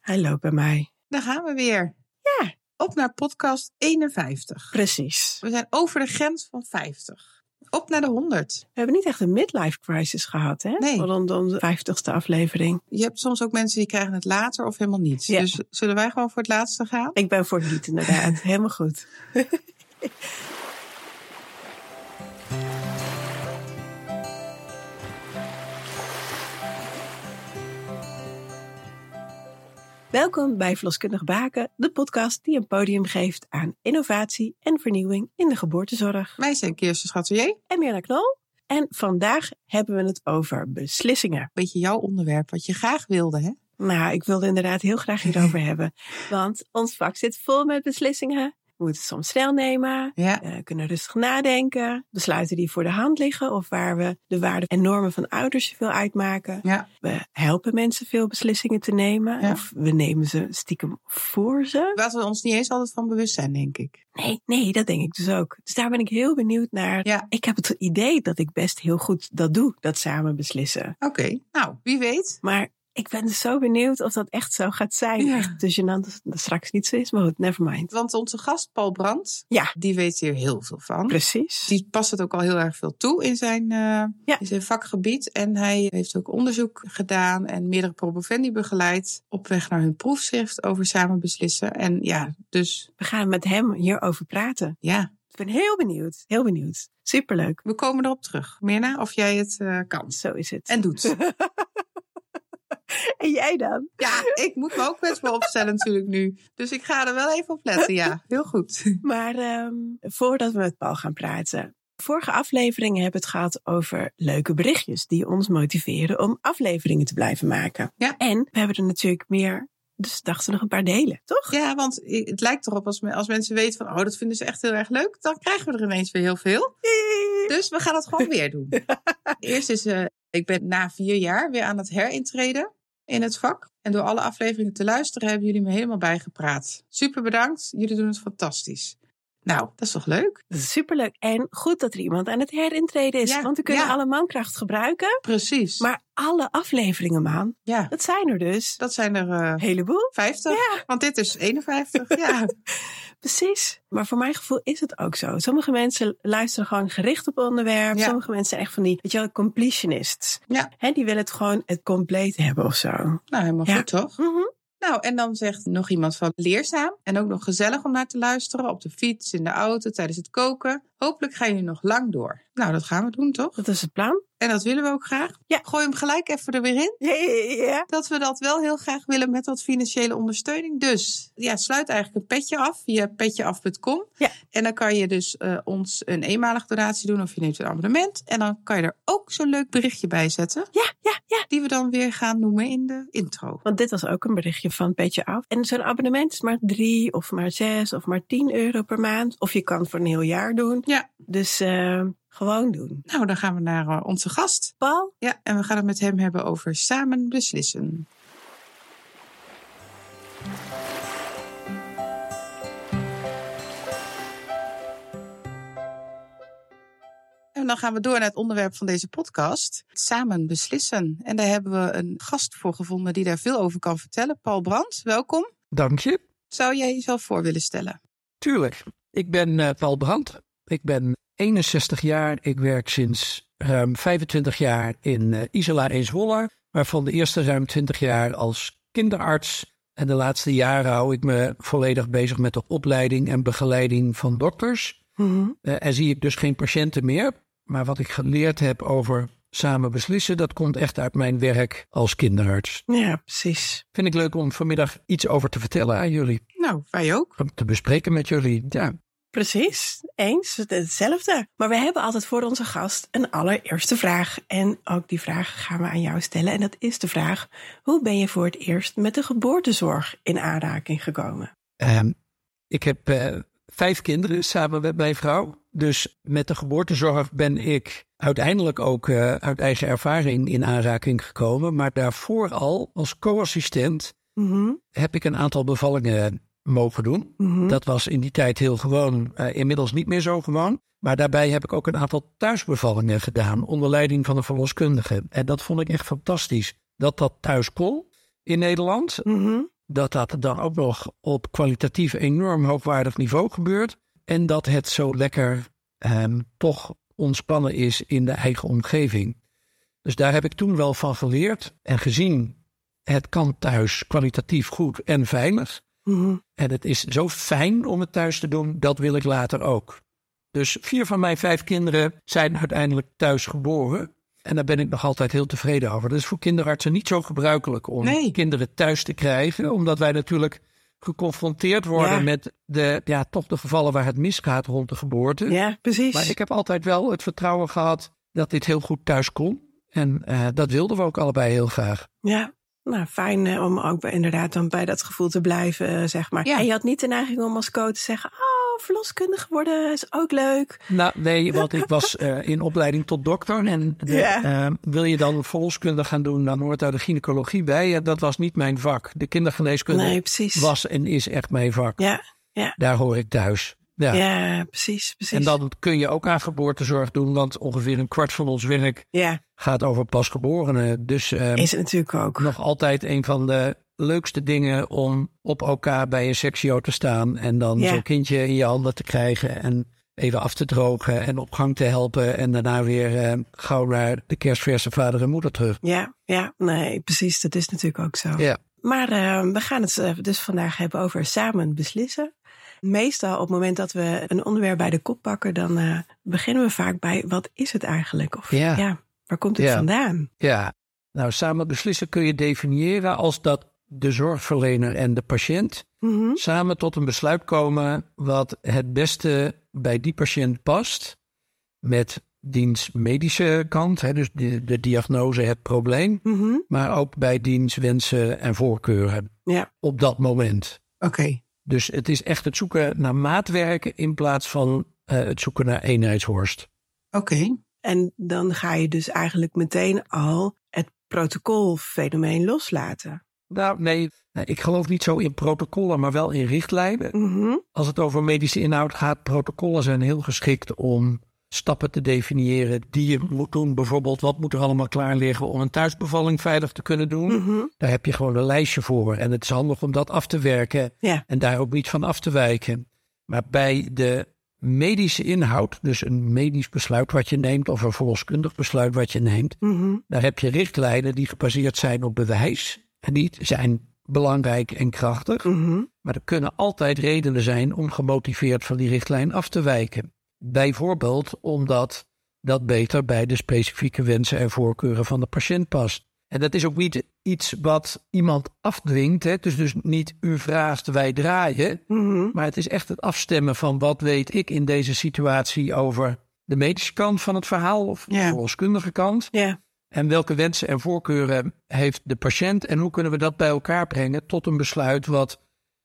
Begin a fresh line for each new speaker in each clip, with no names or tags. Hij loopt bij mij.
Daar gaan we weer.
Ja.
Op naar podcast 51.
Precies.
We zijn over de grens van 50. Op naar de 100.
We hebben niet echt een midlife crisis gehad, hè?
Nee.
Voor dan, dan de vijftigste aflevering.
Je hebt soms ook mensen die krijgen het later of helemaal niets.
Ja.
Dus zullen wij gewoon voor het laatste gaan?
Ik ben voor het niet, inderdaad. Helemaal goed. Welkom bij Verloskundig Baken, de podcast die een podium geeft aan innovatie en vernieuwing in de geboortezorg.
Wij zijn Kirsten Schatelier.
En Mirna Knol. En vandaag hebben we het over beslissingen.
Beetje jouw onderwerp wat je graag wilde, hè?
Nou, ik wilde inderdaad heel graag hierover hebben. Want ons vak zit vol met beslissingen. We moeten soms snel nemen,
Ja.
eh, kunnen rustig nadenken. Besluiten die voor de hand liggen of waar we de waarden en normen van ouders veel uitmaken.
Ja.
We helpen mensen veel beslissingen te nemen.
Ja.
Of we nemen ze stiekem voor ze.
Waar we ons niet eens altijd van bewust zijn, denk ik.
Nee, nee, dat denk ik dus ook. Dus daar ben ik heel benieuwd naar.
Ja.
Ik heb het idee dat ik best heel goed dat doe, dat samen beslissen.
Oké. Nou, wie weet.
Maar ik ben dus zo benieuwd of dat echt zo gaat zijn.
Ja.
Echt te gênant als het straks niet zo is, maar goed, never mind.
Want onze gast Paul Brandt,
Ja.
die weet hier heel veel van.
Precies.
Die past het ook al heel erg veel toe in zijn, eh,
Ja.
in zijn vakgebied. En hij heeft ook onderzoek gedaan en meerdere promovendi begeleid op weg naar hun proefschrift over samen beslissen. En ja, dus
We gaan met hem hierover praten.
ja,
Ik ben heel benieuwd, heel benieuwd. Superleuk.
we komen erop terug. Mirna, of jij het eh, kan
Zo is het.
en doet.
En jij dan?
Ja, ik moet me ook best wel opstellen natuurlijk nu. Dus ik ga er wel even op letten, ja. Heel goed.
Maar ehm, voordat we met Paul gaan praten. Vorige afleveringen hebben we het gehad over leuke berichtjes die ons motiveren om afleveringen te blijven maken.
Ja.
En we hebben er natuurlijk meer, dus dachten we nog een paar delen, toch?
Ja, want het lijkt erop als, me- als mensen weten van... oh, dat vinden ze echt heel erg leuk. Dan krijgen we er ineens weer heel veel. Dus we gaan het gewoon weer doen. Eerst is, eh, ik ben na vier jaar weer aan het herintreden in het vak. En door alle afleveringen te luisteren hebben jullie me helemaal bijgepraat. Super bedankt, jullie doen het fantastisch. Nou, dat is toch leuk?
Dat is superleuk. En goed dat er iemand aan het herintreden is.
Ja,
want we kunnen
ja.
alle mankracht gebruiken.
Precies.
Maar alle afleveringen, man,
ja,
dat zijn er dus.
dat zijn er eh,
Een heleboel.
50.
Ja.
Want dit is 51. ja.
Precies. Maar voor mijn gevoel is het ook zo. Sommige mensen luisteren gewoon gericht op onderwerp.
Ja.
Sommige mensen zijn echt van die, weet je wel, completionists.
Ja.
Hè, die willen het gewoon het compleet hebben of zo.
Nou, helemaal
Ja.
goed toch?
Mhm.
Nou, en dan zegt nog iemand van leerzaam en ook nog gezellig om naar te luisteren op de fiets, in de auto, tijdens het koken. Hopelijk gaan jullie nog lang door. Nou, dat gaan we doen toch?
Dat is het plan.
En dat willen we ook graag.
Ja.
Gooi hem gelijk even er weer in.
Ja, ja, ja, ja.
Dat we dat wel heel graag willen met wat financiële ondersteuning. Dus ja, sluit eigenlijk een petje af via petjeaf.com.
Ja.
En dan kan je dus eh, ons een eenmalig donatie doen of je neemt een abonnement. En dan kan je er ook zo'n leuk berichtje bij zetten.
Ja, ja, ja.
Die we dan weer gaan noemen in de intro.
Want dit was ook een berichtje van Petje Af. En zo'n abonnement is maar drie of maar zes of maar tien euro per maand. Of je kan het voor een heel jaar doen.
Ja.
Dus eh, gewoon doen.
Nou, dan gaan we naar eh, onze gast.
Paul,
Ja, en we gaan het met hem hebben over samen beslissen. En dan gaan we door naar het onderwerp van deze podcast. Samen beslissen. En daar hebben we een gast voor gevonden die daar veel over kan vertellen. Paul Brandt, welkom.
Dank je.
Zou jij jezelf voor willen stellen?
Tuurlijk. Ik ben eh, Paul Brandt. Ik ben 61 jaar. Ik werk sinds ruim 25 jaar in eh Isola in Zwolle. Waarvan de eerste ruim 20 jaar als kinderarts. En de laatste jaren hou ik me volledig bezig met de opleiding en begeleiding van dokters. Eh, en zie ik dus geen patiënten meer. Maar wat ik geleerd heb over samen beslissen, dat komt echt uit mijn werk als kinderarts.
Ja, precies.
Vind ik leuk om vanmiddag iets over te vertellen aan jullie.
Nou, wij ook.
Om te bespreken met jullie. Ja,
Precies, eens, het- hetzelfde. Maar we hebben altijd voor onze gast een allereerste vraag. En ook die vraag gaan we aan jou stellen. En dat is de vraag, hoe ben je voor het eerst met de geboortezorg in aanraking gekomen?
Ehm, ik heb eh, vijf kinderen samen met mijn vrouw. Dus met de geboortezorg ben ik uiteindelijk ook eh, uit eigen ervaring in aanraking gekomen. Maar daarvoor al, als co-assistent,
Mhm,
heb ik een aantal bevallingen mogen doen.
mhm.
Dat was in die tijd heel gewoon, eh, inmiddels niet meer zo gewoon. Maar daarbij heb ik ook een aantal thuisbevallingen gedaan onder leiding van een verloskundige. En dat vond ik echt fantastisch, dat dat thuis kon in Nederland.
Mhm.
dat dat dan ook nog op kwalitatief enorm hoogwaardig niveau gebeurt. En dat het zo lekker ehm, toch ontspannen is in de eigen omgeving. Dus daar heb ik toen wel van geleerd en gezien. Het kan thuis kwalitatief goed en veilig.
Mhm.
En het is zo fijn om het thuis te doen, dat wil ik later ook. Dus vier van mijn vijf kinderen zijn uiteindelijk thuis geboren. En daar ben ik nog altijd heel tevreden over. Dat is voor kinderartsen niet zo gebruikelijk om
Nee.
kinderen thuis te krijgen. Omdat wij natuurlijk geconfronteerd worden
Ja.
met de, ja, toch de gevallen waar het misgaat rond de geboorte.
Ja, precies.
Maar ik heb altijd wel het vertrouwen gehad dat dit heel goed thuis kon. En eh, dat wilden we ook allebei heel graag.
Ja, nou fijn eh, om ook bij- inderdaad dan bij dat gevoel te blijven, eh, zeg maar.
Ja.
En je had niet de neiging om als coach te zeggen, oh, verloskundige worden is ook leuk.
Nou, nee, want ik was eh, in opleiding tot dokter. En de,
Ja.
eh, wil je dan verloskunde gaan doen, dan hoort daar de gynaecologie bij. Ja, dat was niet mijn vak. De kindergeneeskunde
Nee, precies.
was en is echt mijn vak.
Ja,
Daar hoor ik thuis. Ja.
ja. precies, precies.
en dan kun je ook aan geboortezorg doen, want ongeveer een kwart van ons werk
ja,
gaat over pasgeborenen. Dus eh,
is het natuurlijk ook.
nog altijd een van de leukste dingen om op elkaar bij een sectio te staan. En dan
Ja.
zo'n kindje in je handen te krijgen en even af te drogen en op gang te helpen. En daarna weer eh, gauw naar de kerstverse vader en moeder terug.
Ja, ja, nee, precies, dat is natuurlijk ook zo.
Ja.
Maar eh, we gaan het eh, dus vandaag hebben over samen beslissen. Meestal op het moment dat we een onderwerp bij de kop pakken, dan eh, beginnen we vaak bij wat is het eigenlijk? Of
Ja.
waar komt het
Ja.
vandaan?
Ja, nou samen beslissen kun je definiëren als dat de zorgverlener en de patiënt
Mhm.
samen tot een besluit komen wat het beste bij die patiënt past. Met diens medische kant, hè, dus de, de diagnose, het probleem.
Mhm.
maar ook bij diens wensen en voorkeuren
Ja,
op dat moment.
Oké.
Dus het is echt het zoeken naar maatwerken in plaats van eh, het zoeken naar eenheidshorst.
Oké.
en dan ga je dus eigenlijk meteen al het protocolfenomeen loslaten.
Nou, nee, nou, ik geloof niet zo in protocollen, maar wel in richtlijnen.
Mhm.
Als het over medische inhoud gaat, protocollen zijn heel geschikt om stappen te definiëren die je moet doen. Bijvoorbeeld, wat moet er allemaal klaar liggen om een thuisbevalling veilig te kunnen doen?
Mhm.
Daar heb je gewoon een lijstje voor. En het is handig om dat af te werken
Ja.
en daar ook niet van af te wijken. Maar bij de medische inhoud, dus een medisch besluit wat je neemt of een verloskundig besluit wat je neemt,
Mhm.
daar heb je richtlijnen die gebaseerd zijn op bewijs. En die zijn belangrijk en krachtig.
Mhm.
Maar er kunnen altijd redenen zijn om gemotiveerd van die richtlijn af te wijken. Bijvoorbeeld omdat dat beter bij de specifieke wensen en voorkeuren van de patiënt past. En dat is ook niet iets wat iemand afdwingt. Hè? Dus, dus niet u vraagt, wij draaien.
Mhm.
Maar het is echt het afstemmen van wat weet ik in deze situatie over de medische kant van het verhaal of de
Ja.
verloskundige kant.
Ja.
En welke wensen en voorkeuren heeft de patiënt? En hoe kunnen we dat bij elkaar brengen tot een besluit wat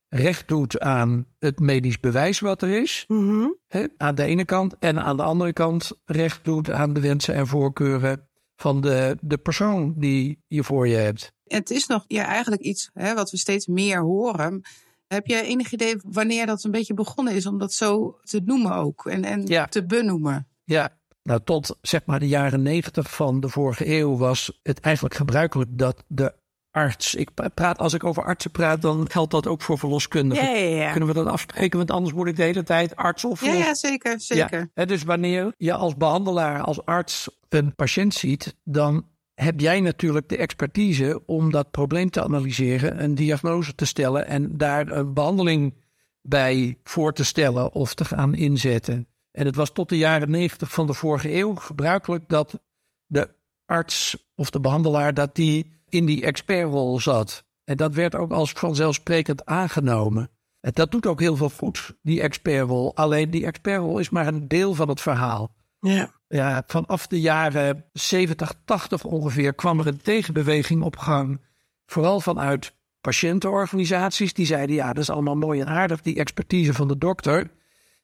recht doet aan het medisch bewijs wat er is?
Mhm.
Hè, aan de ene kant. En aan de andere kant recht doet aan de wensen en voorkeuren van de, de persoon die je voor je hebt.
Het is nog ja, eigenlijk iets hè, wat we steeds meer horen. Heb jij enig idee wanneer dat een beetje begonnen is om dat zo te noemen ook? En, en
Ja.
te benoemen?
Ja, nou tot zeg maar de jaren negentig van de vorige eeuw was het eigenlijk gebruikelijk dat de arts. Ik pra- praat, als ik over artsen praat, dan geldt dat ook voor verloskundigen.
Ja, ja, ja.
Kunnen we dat afspreken? Want anders moet ik de hele tijd arts of
Ja, ja zeker. zeker.
Ja, hè, dus wanneer je als behandelaar, als arts een patiënt ziet, dan heb jij natuurlijk de expertise om dat probleem te analyseren, een diagnose te stellen en daar een behandeling bij voor te stellen of te gaan inzetten. En het was tot de jaren negentig van de vorige eeuw gebruikelijk dat de arts of de behandelaar dat die in die expertrol zat. En dat werd ook als vanzelfsprekend aangenomen. En dat doet ook heel veel goed, die expertrol. Alleen die expertrol is maar een deel van het verhaal.
Ja.
Ja, vanaf de jaren 70, 80 ongeveer kwam er een tegenbeweging op gang. Vooral vanuit patiëntenorganisaties. Die zeiden, ja, dat is allemaal mooi en aardig, die expertise van de dokter.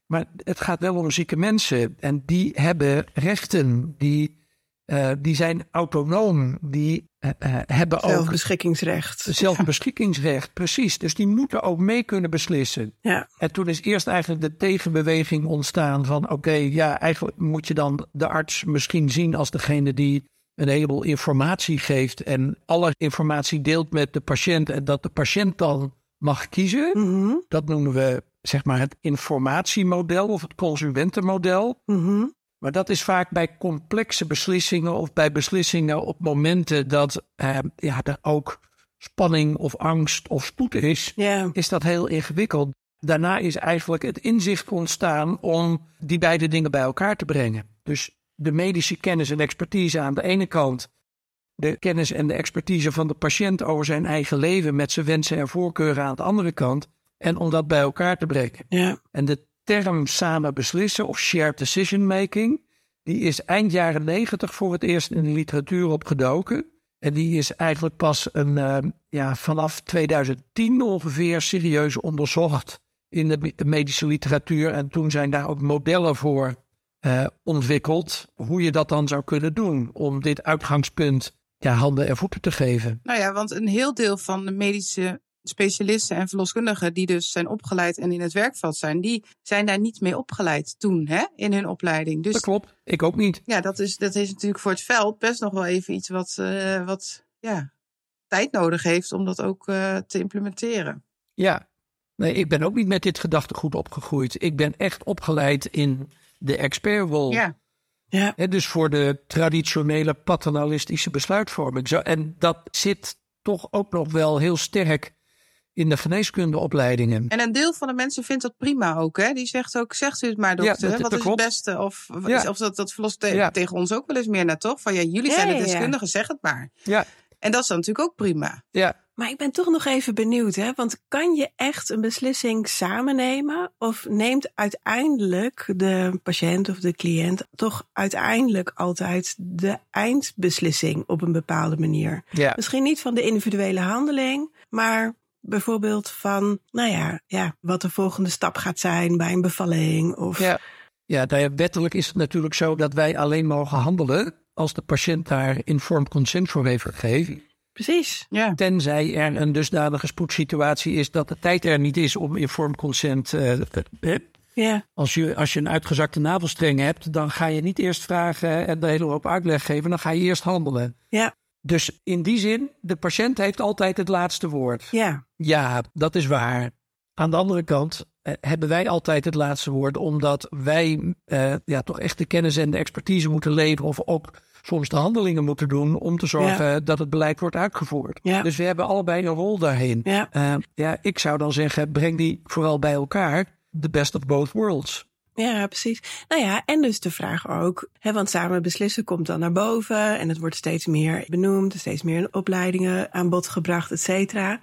Maar het gaat wel om zieke mensen. En die hebben rechten. Die, eh, die zijn autonoom. Die eh, eh, hebben ook
Zelfbeschikkingsrecht.
zelfbeschikkingsrecht. Precies. Dus die moeten ook mee kunnen beslissen.
Ja.
En toen is eerst eigenlijk de tegenbeweging ontstaan van oké, ja, eigenlijk moet je dan de arts misschien zien als degene die een heleboel informatie geeft en alle informatie deelt met de patiënt en dat de patiënt dan mag kiezen.
Mhm,
Dat noemen we zeg maar het informatiemodel of het consumentenmodel.
mhm,
Maar dat is vaak bij complexe beslissingen of bij beslissingen op momenten dat eh, ja, er ook spanning of angst of spoed is,
Ja,
eh, is dat heel ingewikkeld. Daarna is eigenlijk het inzicht ontstaan om die beide dingen bij elkaar te brengen. Dus de medische kennis en expertise aan de ene kant, de kennis en de expertise van de patiënt over zijn eigen leven met zijn wensen en voorkeuren aan de andere kant, en om dat bij elkaar te brengen.
ja,
En de term samen beslissen of shared decision making, die is eind jaren negentig voor het eerst in de literatuur opgedoken. En die is eigenlijk pas een, eh, ja, vanaf 2010 ongeveer serieus onderzocht in de me- medische literatuur. En toen zijn daar ook modellen voor eh, ontwikkeld, hoe je dat dan zou kunnen doen om dit uitgangspunt ja, handen en voeten te geven.
Nou ja, want een heel deel van de medische specialisten en verloskundigen die dus zijn opgeleid en in het werkveld zijn, die zijn daar niet mee opgeleid toen hè, in hun opleiding.
Dat
Dus
klopt, ik ook niet.
ja, dat is, dat is natuurlijk voor het veld best nog wel even iets wat, eh, wat ja, tijd nodig heeft om dat ook eh, te implementeren.
Ja, nee, ik ben ook niet met dit gedachtegoed opgegroeid. Ik ben echt opgeleid in de expertrol.
Ja,
ja,
Hè, dus voor de traditionele paternalistische besluitvorming. Zo, en dat zit toch ook nog wel heel sterk in de geneeskundeopleidingen.
en een deel van de mensen vindt dat prima ook. Hè? Die zegt ook, zegt u het maar dokter,
dat-
hè,
dat
wat is het
klopt.
beste? Of,
Ja.
of dat, dat verlost te-
Ja.
tegen ons ook wel eens meer naar toch? Van ja, jullie
Ja,
zijn
ja,
de
ja.
deskundigen, zeg het maar.
Ja,
En dat is dan natuurlijk ook prima.
ja.
Maar ik ben toch nog even benieuwd, hè? Want kan je echt een beslissing samen nemen? Of neemt uiteindelijk de patiënt of de cliënt toch uiteindelijk altijd de eindbeslissing op een bepaalde manier?
ja.
Misschien niet van de individuele handeling, maar bijvoorbeeld van, nou ja, ja wat de volgende stap gaat zijn bij een bevalling. Of
Ja. Ja, nou ja, wettelijk is het natuurlijk zo dat wij alleen mogen handelen als de patiënt daar informed consent voor heeft gegeven.
precies.
Ja.
Tenzij er een dusdanige spoedsituatie is dat de tijd er niet is om informed consent. eh, eh,
Ja,
als, je, als je een uitgezakte navelstreng hebt, dan ga je niet eerst vragen en de hele hoop uitleg geven. Dan ga je eerst handelen.
ja,
Dus in die zin, de patiënt heeft altijd het laatste woord.
ja,
Ja, dat is waar. Aan de andere kant eh, hebben wij altijd het laatste woord, omdat wij eh, ja, toch echt de kennis en de expertise moeten leveren, of ook soms de handelingen moeten doen om te zorgen dat het beleid wordt uitgevoerd.
Ja.
Dus we hebben allebei een rol daarin.
ja.
Eh, ja, ik zou dan zeggen, breng die vooral bij elkaar. The best of both worlds.
Ja, precies. Nou ja, en dus de vraag ook, hè, want samen beslissen komt dan naar boven en het wordt steeds meer benoemd, steeds meer opleidingen aan bod gebracht, et cetera.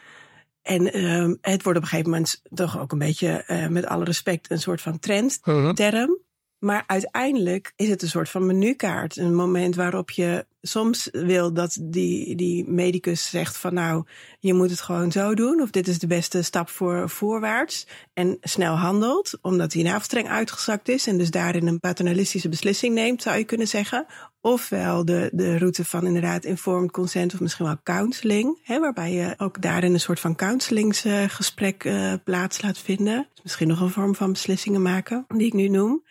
En ehm, het wordt op een gegeven moment toch ook een beetje, eh, met alle respect, een soort van trend, term. Maar uiteindelijk is het een soort van menukaart. Een moment waarop je soms wil dat die, die medicus zegt van nou, je moet het gewoon zo doen. Of dit is de beste stap voor voorwaarts. En snel handelt, omdat die navelstreng uitgezakt is. En dus daarin een paternalistische beslissing neemt, zou je kunnen zeggen. Ofwel de, de route van inderdaad informed consent of misschien wel counseling. Hè, waarbij je ook daarin een soort van counselingsgesprek eh plaats laat vinden. Dus misschien nog een vorm van beslissingen maken, die ik nu noem.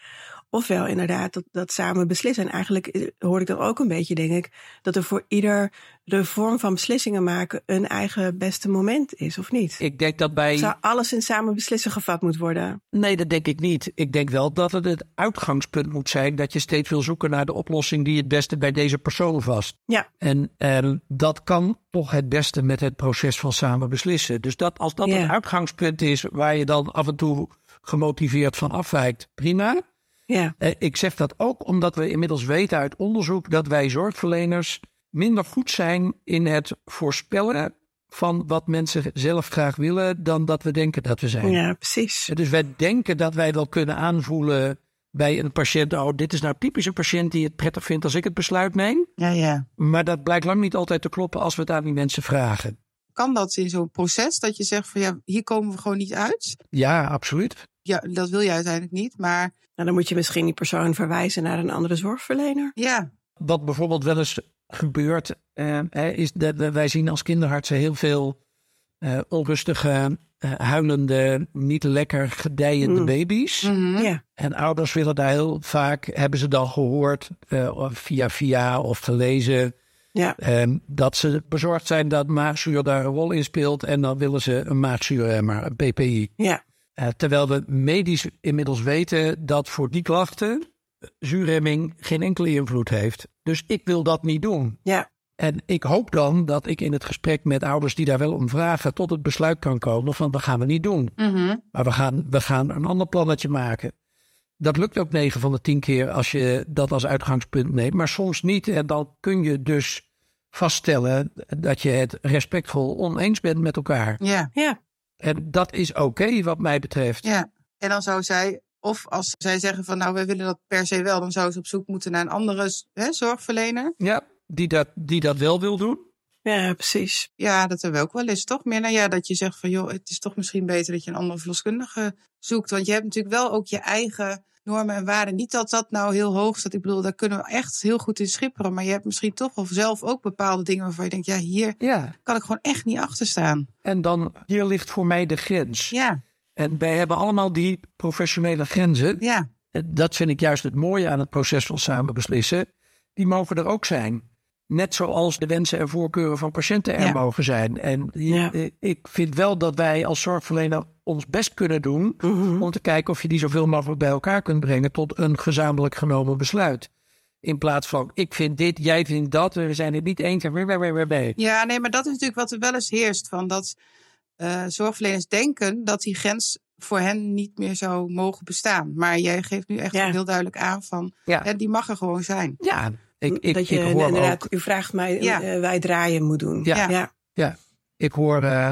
Ofwel inderdaad dat, dat samen beslissen. En eigenlijk eh, hoor ik dan ook een beetje, denk ik, dat er voor ieder de vorm van beslissingen maken een eigen beste moment is, of niet?
Ik denk dat bij.
Zou alles in samen beslissen gevat moet worden?
Nee, dat denk ik niet. Ik denk wel dat het het uitgangspunt moet zijn dat je steeds wil zoeken naar de oplossing die het beste bij deze persoon past.
Ja,
En, eh, dat kan toch het beste met het proces van samen beslissen. Dus dat, als dat
Ja.
het uitgangspunt is waar je dan af en toe gemotiveerd van afwijkt, prima.
ja,
Eh, Ik zeg dat ook omdat we inmiddels weten uit onderzoek dat wij zorgverleners minder goed zijn in het voorspellen van wat mensen zelf graag willen dan dat we denken dat we zijn.
ja, precies.
Dus wij denken dat wij wel kunnen aanvoelen bij een patiënt, oh dit is nou typisch een patiënt die het prettig vindt als ik het besluit neem.
Ja, ja.
Maar dat blijkt lang niet altijd te kloppen als we het aan die mensen vragen.
Kan dat in zo'n proces dat je zegt van ja, hier komen we gewoon niet uit?
Ja, absoluut.
Ja, dat wil je uiteindelijk niet, maar
Nou, dan moet je misschien die persoon verwijzen naar een andere zorgverlener.
ja,
Wat bijvoorbeeld wel eens gebeurt, eh, hè, is dat we- wij zien als kinderartsen heel veel eh, onrustige eh, huilende, niet lekker gedijende
Mm.
baby's.
Mhm.
Ja.
En ouders willen daar heel vaak, hebben ze dan gehoord eh, of via via of gelezen,
Ja.
ehm, dat ze bezorgd zijn dat maagzuur daar een rol in speelt. En dan willen ze een maagzuurremmer, een PPI.
Ja.
Eh, terwijl we medisch inmiddels weten dat voor die klachten eh, zuurremming geen enkele invloed heeft. Dus ik wil dat niet doen.
Ja.
En ik hoop dan dat ik in het gesprek met ouders die daar wel om vragen tot het besluit kan komen van dat gaan we niet doen.
Mhm.
Maar we gaan, we gaan een ander plannetje maken. Dat lukt ook 9 van de 10 keer als je dat als uitgangspunt neemt, maar soms niet. En dan kun je dus vaststellen dat je het respectvol oneens bent met elkaar.
Ja,
Ja.
En dat is oké wat mij betreft.
ja. En dan zou zij, of als zij zeggen van nou, wij willen dat per se wel, dan zou ze op zoek moeten naar een andere hè, zorgverlener.
Ja, die dat, die dat wel wil doen.
Ja, precies.
Ja, dat hebben we ook wel eens, toch? Meer nou ja, dat je zegt van joh, het is toch misschien beter dat je een andere verloskundige zoekt. Want je hebt natuurlijk wel ook je eigen normen en waarden. Niet dat dat nou heel hoog staat. Ik bedoel, daar kunnen we echt heel goed in schipperen. Maar je hebt misschien toch wel zelf ook bepaalde dingen waarvan je denkt, ja, hier
Ja.
kan ik gewoon echt niet achter staan.
En dan, hier ligt voor mij de grens.
Ja,
En wij hebben allemaal die professionele grenzen.
ja,
En Dat vind ik juist het mooie aan het proces van samen beslissen. Die mogen er ook zijn. Net zoals de wensen en voorkeuren van patiënten er
Ja.
mogen zijn. En je-
Ja.
eh, ik vind wel dat wij als zorgverlener ons best kunnen doen.
Mhm.
om te kijken of je die zoveel mogelijk bij elkaar kunt brengen tot een gezamenlijk genomen besluit. In plaats van ik vind dit, jij vindt dat, we zijn het niet eens en weer, weer, weer, weer, weer.
ja. Nee, maar dat is natuurlijk wat er wel eens heerst. Van dat eh, zorgverleners denken dat die grens voor hen niet meer zou mogen bestaan. Maar jij geeft nu echt
Ja.
heel duidelijk aan van,
Ja.
hè, die mag er gewoon zijn.
Ja, ik, ik,
dat
ik
je
hoor
inderdaad,
ook,
u vraagt mij,
Ja.
eh, wij draaien moet doen.
Ja.
ja.
ik hoor eh,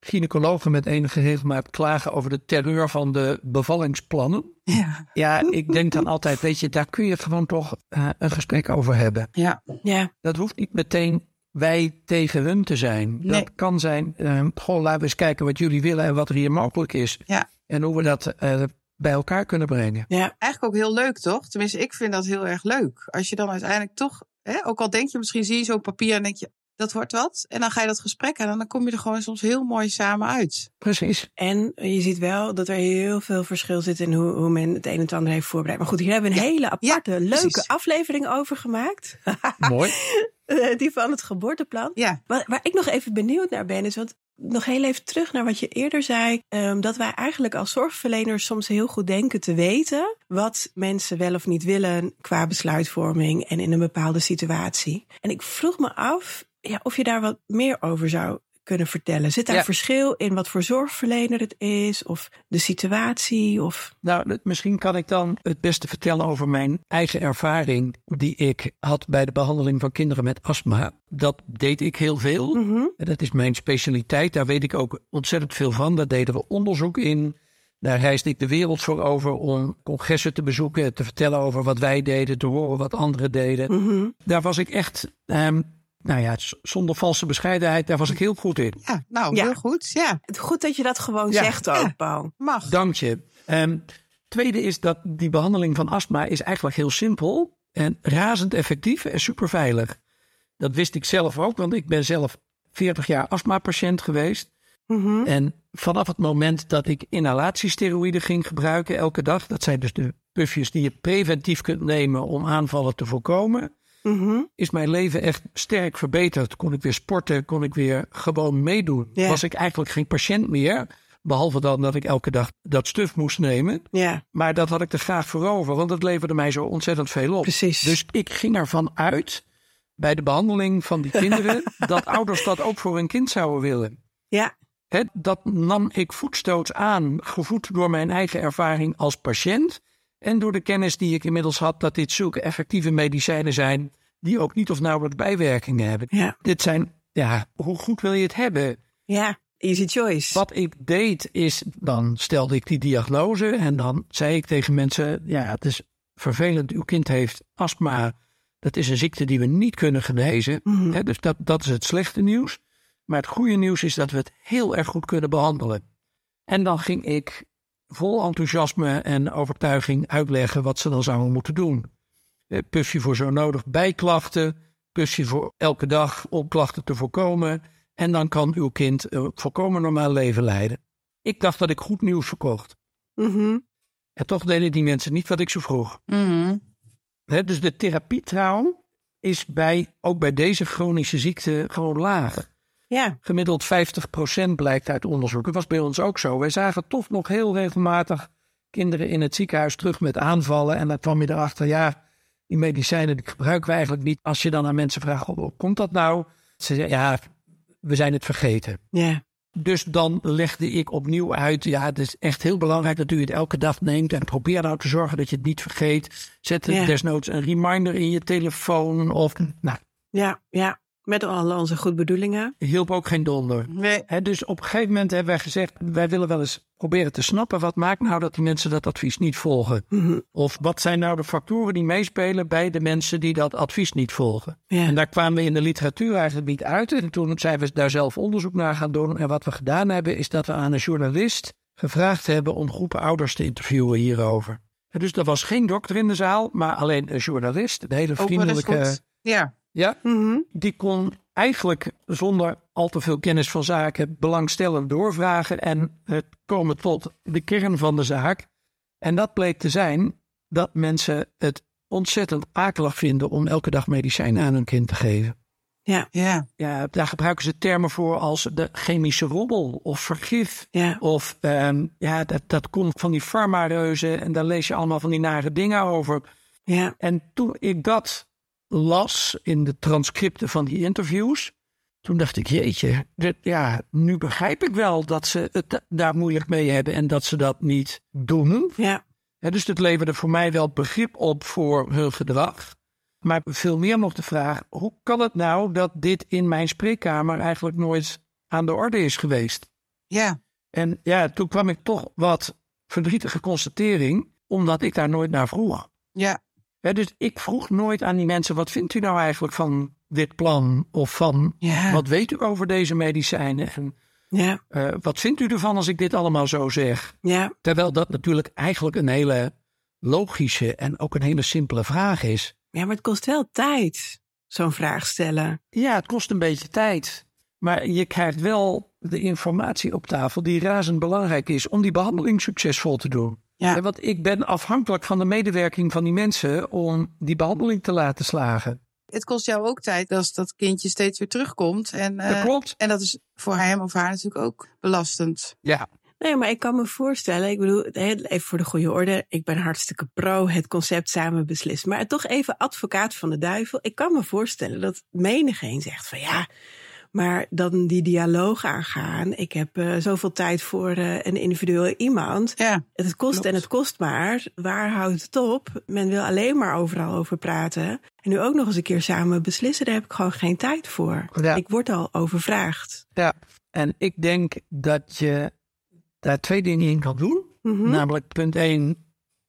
gynaecologen met enige regelmaat klagen over de terreur van de bevallingsplannen.
Ja,
Ja, ik denk dan altijd, weet je, daar kun je gewoon toch eh, een gesprek over hebben.
ja,
ja.
Dat hoeft niet meteen wij tegen hun te zijn.
Nee.
Dat kan zijn, eh, goh, laten we eens kijken wat jullie willen en wat er hier mogelijk is.
ja.
En hoe we dat eh, bij elkaar kunnen brengen.
ja.
eigenlijk ook heel leuk, toch? Tenminste, ik vind dat heel erg leuk. Als je dan uiteindelijk toch, hè, ook al denk je misschien, zie je zo'n papier en denk je, dat wordt wat. En dan ga je dat gesprek aan en dan kom je er gewoon soms heel mooi samen uit.
Precies.
En je ziet wel dat er heel veel verschil zit in hoe, hoe men het een en het ander heeft voorbereid. Maar goed, hier hebben we een hele aparte, leuke
precies.
aflevering over gemaakt.
Mooi.
Die van het geboorteplan.
Ja,
Waar, waar ik nog even benieuwd naar ben, is want nog heel even terug naar wat je eerder zei. ehm, dat wij eigenlijk als zorgverleners soms heel goed denken te weten wat mensen wel of niet willen qua besluitvorming en in een bepaalde situatie. En ik vroeg me af ja, of je daar wat meer over zou kunnen vertellen. Zit daar
Ja.
verschil in wat voor zorgverlener het is of de situatie of
Nou, dat- misschien kan ik dan het beste vertellen over mijn eigen ervaring die ik had bij de behandeling van kinderen met astma. Dat deed ik heel veel. En Dat is mijn specialiteit. Daar weet ik ook ontzettend veel van. Daar deden we onderzoek in. Daar reisde ik de wereld voor over om congressen te bezoeken, te vertellen over wat wij deden, te horen wat anderen deden. Daar was ik echt, ehm, nou ja, z- zonder valse bescheidenheid, daar was ik heel goed in.
ja nou,
Ja.
heel goed. Ja,
Het- goed dat je dat gewoon
Ja.
zegt ook,
Ja.
Paul.
mag.
Dank je. Ehm, tweede is dat die behandeling van astma is eigenlijk heel simpel en razend effectief en superveilig. Dat wist ik zelf ook, want ik ben zelf 40 jaar astmapatiënt geweest.
Mhm.
En vanaf het moment dat ik inhalatiesteroïden ging gebruiken elke dag, dat zijn dus de puffjes die je preventief kunt nemen om aanvallen te voorkomen,
Mhm.
is mijn leven echt sterk verbeterd. Kon ik weer sporten, kon ik weer gewoon meedoen.
Ja.
Was ik eigenlijk geen patiënt meer, behalve dan dat ik elke dag dat stuf moest nemen.
Ja,
Maar dat had ik er graag voor over, want dat leverde mij zo ontzettend veel op.
Precies.
Dus ik ging ervan uit, bij de behandeling van die kinderen, dat ouders dat ook voor hun kind zouden willen.
ja,
Hè, dat nam ik voetstoots aan, gevoed door mijn eigen ervaring als patiënt. En door de kennis die ik inmiddels had dat dit zulke effectieve medicijnen zijn, die ook niet of nauwelijks bijwerkingen hebben.
ja,
Dit zijn, ja, hoe goed wil je het hebben?
ja. Easy choice.
Wat ik deed is, dan stelde ik die diagnose en dan zei ik tegen mensen, ja, het is vervelend, uw kind heeft astma. Dat is een ziekte die we niet kunnen genezen.
Mhm.
Hè, dus dat, dat is het slechte nieuws. Maar het goede nieuws is dat we het heel erg goed kunnen behandelen. En dan ging ik vol enthousiasme en overtuiging uitleggen wat ze dan zouden moeten doen. Eh, Puffje voor zo nodig bij klachten, puffje voor elke dag om klachten te voorkomen. En dan kan uw kind een volkomen normaal leven leiden. Ik dacht dat ik goed nieuws verkocht.
Mhm.
En toch deden die mensen niet wat ik ze vroeg.
Mhm.
Hè, dus de therapietrouw is bij, ook bij deze chronische ziekte gewoon laag.
Ja,
Gemiddeld 50% blijkt uit onderzoek. Dat was bij ons ook zo. Wij zagen toch nog heel regelmatig kinderen in het ziekenhuis terug met aanvallen. En dan kwam je erachter, ja, die medicijnen die gebruiken we eigenlijk niet. Als je dan aan mensen vraagt, "Oh, hoe komt dat nou? Ze zeggen, ja, we zijn het vergeten.
ja.
Dus dan legde ik opnieuw uit, ja, het is echt heel belangrijk dat u het elke dag neemt. En probeer nou te zorgen dat je het niet vergeet. Zet er
Ja.
desnoods een reminder in je telefoon. Of, nou,
Ja, ja. Met al onze goede bedoelingen.
hielp ook geen donder.
Nee.
Hè, dus op een gegeven moment hebben wij gezegd, wij willen wel eens proberen te snappen. Wat maakt nou dat die mensen dat advies niet volgen?
Mhm.
Of wat zijn nou de factoren die meespelen bij de mensen die dat advies niet volgen?
Ja.
En daar kwamen we in de literatuur eigenlijk niet uit. En toen zijn we daar zelf onderzoek naar gaan doen. En wat we gedaan hebben, is dat we aan een journalist gevraagd hebben om groepen ouders te interviewen hierover. En dus er was geen dokter in de zaal, maar alleen een journalist. Een hele
Ook wel eens
vriendelijke.
goed. Ja.
Ja,
Mhm.
die kon eigenlijk zonder al te veel kennis van zaken belangstellend doorvragen en eh, komen tot de kern van de zaak. En dat bleek te zijn dat mensen het ontzettend akelig vinden om elke dag medicijnen aan hun kind te geven.
Ja.
Ja, daar gebruiken ze termen voor als de chemische rommel of vergif.
Ja.
Of ehm, ja, dat, dat komt van die farmareuzen en daar lees je allemaal van die nare dingen over.
Ja.
En toen ik dat las in de transcripten van die interviews, toen dacht ik, jeetje, dit- ja, nu begrijp ik wel dat ze het da- daar moeilijk mee hebben en dat ze dat niet doen.
Ja.
Hè, dus dat leverde voor mij wel begrip op voor hun gedrag. Maar veel meer nog de vraag, hoe kan het nou dat dit in mijn spreekkamer eigenlijk nooit aan de orde is geweest?
Ja.
En ja, toen kwam ik toch wat verdrietige constatering, omdat ik daar nooit naar vroeg.
Ja.
Hè, dus ik vroeg nooit aan die mensen: wat vindt u nou eigenlijk van dit plan? Of van
Ja.
wat weet u over deze medicijnen? En
Ja.
eh, wat vindt u ervan als ik dit allemaal zo zeg?
Ja.
Terwijl dat natuurlijk eigenlijk een hele logische en ook een hele simpele vraag is.
Ja, maar het kost wel tijd, zo'n vraag stellen.
Ja, het kost een beetje tijd. Maar je krijgt wel de informatie op tafel die razend belangrijk is om die behandeling succesvol te doen.
Ja.
Hè, Want ik ben afhankelijk van de medewerking van die mensen om die behandeling te laten slagen.
Het kost jou ook tijd als dat kindje steeds weer terugkomt. En, eh,
dat klopt.
en dat is voor hem of haar natuurlijk ook belastend.
Ja,
Nee, maar ik kan me voorstellen, ik bedoel, hè, even voor de goede orde, ik ben hartstikke pro het concept samen beslissen. Maar toch even advocaat van de duivel. Ik kan me voorstellen dat menigeen zegt van ja, maar dan die dialoog aangaan. Ik heb eh, zoveel tijd voor eh, een individueel iemand.
Ja.
Het kost en
Klopt.
het kost maar. Waar houdt het op? Men wil alleen maar overal over praten. En nu ook nog eens een keer samen beslissen, daar heb ik gewoon geen tijd voor.
Ja.
Ik word al overvraagd.
ja. En ik denk dat je daar twee dingen in kan doen.
Mhm.
Namelijk punt één,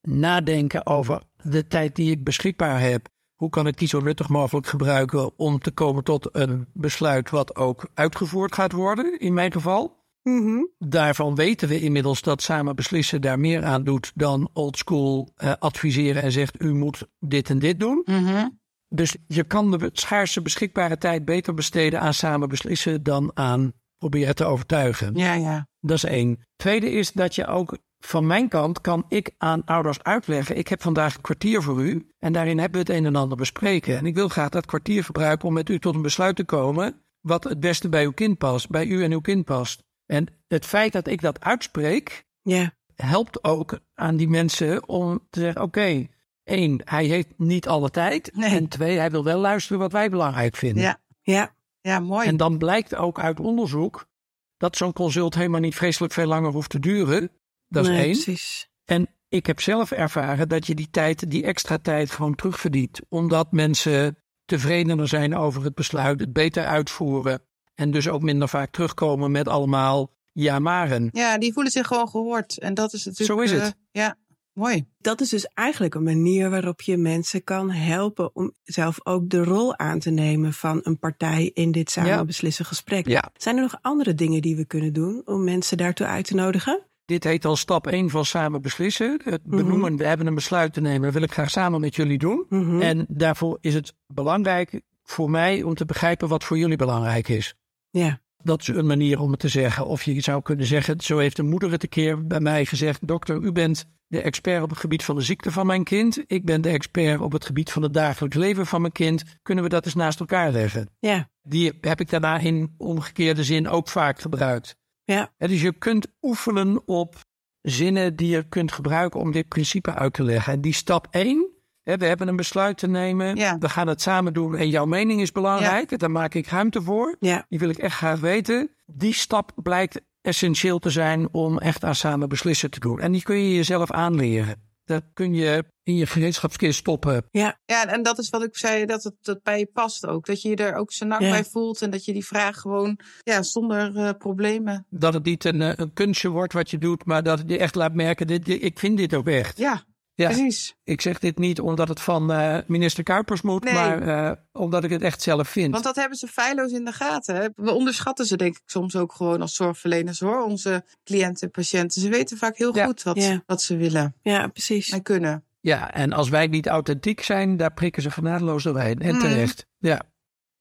nadenken over de tijd die ik beschikbaar heb. Hoe kan ik die zo nuttig mogelijk gebruiken om te komen tot een besluit wat ook uitgevoerd gaat worden, in mijn geval.
Mhm.
Daarvan weten we inmiddels dat samen beslissen daar meer aan doet dan oldschool eh adviseren en zegt u moet dit en dit doen.
Mhm.
Dus je kan de schaarse beschikbare tijd beter besteden aan samen beslissen dan aan proberen te overtuigen.
Ja, ja.
Dat is één. Tweede is dat je ook van mijn kant kan ik aan ouders uitleggen. Ik heb vandaag een kwartier voor u en daarin hebben we het een en ander bespreken. En ik wil graag dat kwartier gebruiken om met u tot een besluit te komen wat het beste bij uw kind past, bij u en uw kind past. En het feit dat ik dat uitspreek,
Ja,
helpt ook aan die mensen om te zeggen: oké, één, hij heeft niet alle tijd.
Nee.
En twee, hij wil wel luisteren wat wij belangrijk vinden.
Ja.
ja,
Ja, mooi.
En dan blijkt ook uit onderzoek dat zo'n consult helemaal niet vreselijk veel langer hoeft te duren. Dat is
nee,
één.
precies.
En ik heb zelf ervaren dat je die tijd, die extra tijd, gewoon terugverdient. Omdat mensen tevredener zijn over het besluit, het beter uitvoeren. En dus ook minder vaak terugkomen met allemaal ja maren.
Ja, die voelen zich gewoon gehoord. En dat is natuurlijk...
Zo is het.
eh, ja, mooi.
Dat is dus eigenlijk een manier waarop je mensen kan helpen om zelf ook de rol aan te nemen van een partij in dit samen
Ja.
beslissen gesprek.
Ja.
Zijn er nog andere dingen die we kunnen doen om mensen daartoe uit te nodigen?
Dit heet al stap 1 van samen beslissen. Het benoemen, we hebben een besluit te nemen, wil ik graag samen met jullie doen.
Mhm.
En daarvoor is het belangrijk voor mij om te begrijpen wat voor jullie belangrijk is.
Ja,
Dat is een manier om het te zeggen. Of je zou kunnen zeggen, zo heeft een moeder het een keer bij mij gezegd. Dokter, u bent de expert op het gebied van de ziekte van mijn kind. Ik ben de expert op het gebied van het dagelijks leven van mijn kind. Kunnen we dat eens naast elkaar leggen?
Ja,
Die heb ik daarna in omgekeerde zin ook vaak gebruikt.
ja,
Hè, dus je kunt oefenen op zinnen die je kunt gebruiken om dit principe uit te leggen. En die stap 1, we hebben een besluit te nemen.
Ja.
We gaan het samen doen en jouw mening is belangrijk. Daar maak ik ruimte voor.
ja,
Die wil ik echt graag weten. Die stap blijkt essentieel te zijn om echt aan samen beslissen te doen. En die kun je jezelf aanleren. Dat kun je in je gereedschapskist stoppen.
ja,
Ja, en dat is wat ik zei, dat het dat bij je past ook. Dat je je er ook zijn nak
Ja.
bij voelt en dat je die vraag gewoon ja, zonder eh, problemen.
Dat het niet een, eh, een kunstje wordt wat je doet, maar dat het je echt laat merken: dit, dit- ik vind dit ook echt.
Ja,
Ja.
precies.
Ik zeg dit niet omdat het van eh, minister Kuipers moet,
Nee.
maar eh, omdat ik het echt zelf vind.
Want dat hebben ze feilloos in de gaten. Hè? We onderschatten ze denk ik soms ook gewoon als zorgverleners hoor. Onze cliënten en patiënten. Ze weten vaak heel
Ja.
goed wat,
Ja.
wat ze willen
ja, precies.
en kunnen.
Ja, en als wij niet authentiek zijn, daar prikken ze genadeloos doorheen. En
Mm.
terecht. Ja.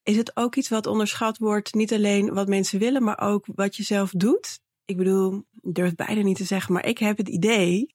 Is het ook iets wat onderschat wordt? Niet alleen wat mensen willen, maar ook wat je zelf doet? Ik bedoel, ik durf het bijna niet te zeggen, maar ik heb het idee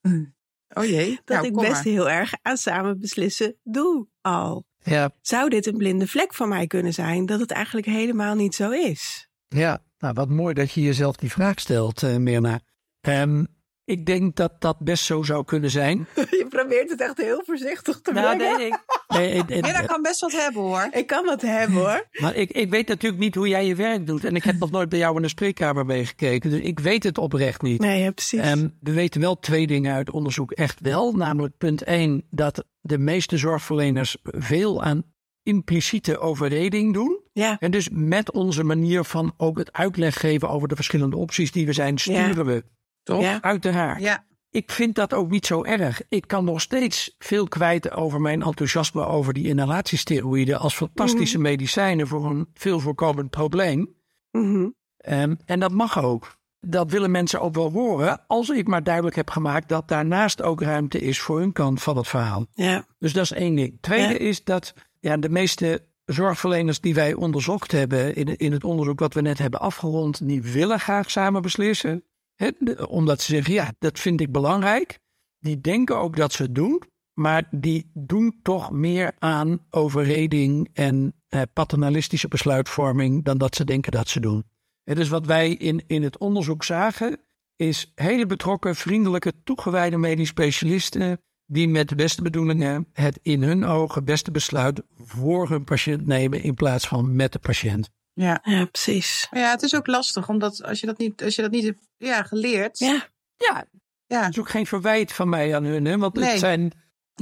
Oh jee.
dat
Nou,
ik
kom
best
maar.
heel erg aan samen beslissen doe al.
ja,
Zou dit een blinde vlek van mij kunnen zijn dat het eigenlijk helemaal niet zo is?
Ja, nou wat mooi dat je jezelf die vraag stelt, eh, Mirna. Ehm, ik denk dat dat best zo zou kunnen zijn.
Je probeert het echt heel voorzichtig te
Nou,
brengen.
Nou, Nee, eh, eh,
Mirna kan best wat hebben hoor.
Ik kan dat hebben hoor.
maar ik, ik weet natuurlijk niet hoe jij je werk doet. En ik heb nog nooit bij jou in de spreekkamer meegekeken. Dus ik weet het oprecht niet.
Nee, ja, precies.
Ehm, we weten wel twee dingen uit onderzoek echt wel. Namelijk punt 1 dat de meeste zorgverleners veel aan impliciete overreding doen.
ja,
En dus met onze manier van ook het uitleg geven over de verschillende opties die we zijn, sturen we. Toch?
Ja.
Uiteraard.
Ja,
Ik vind dat ook niet zo erg. Ik kan nog steeds veel kwijt over mijn enthousiasme over die inhalatiesteroïden als fantastische medicijnen voor een veel voorkomend probleem.
mhm.
Ehm, en dat mag ook. Dat willen mensen ook wel horen, als ik maar duidelijk heb gemaakt dat daarnaast ook ruimte is voor hun kant van het verhaal.
ja,
Dus dat is één ding. Tweede
Ja.
is dat ja, de meeste zorgverleners die wij onderzocht hebben in, in het onderzoek wat we net hebben afgerond, die willen graag samen beslissen. Hè, de- omdat ze zeggen, ja, dat vind ik belangrijk. Die denken ook dat ze het doen, maar die doen toch meer aan overreding en eh, paternalistische besluitvorming dan dat ze denken dat ze doen. Hè, dus wat wij in, in het onderzoek zagen, is hele betrokken, vriendelijke, toegewijde medisch specialisten die met de beste bedoelingen het in hun ogen beste besluit voor hun patiënt nemen in plaats van met de patiënt.
ja.
ja, precies.
Maar ja, het is ook lastig, omdat als je dat niet, als je dat niet hebt ja, geleerd.
Ja,
Ja,
Ja.
dat is ook geen verwijt van mij aan hun, hè, want
Nee.
het zijn,
Nee,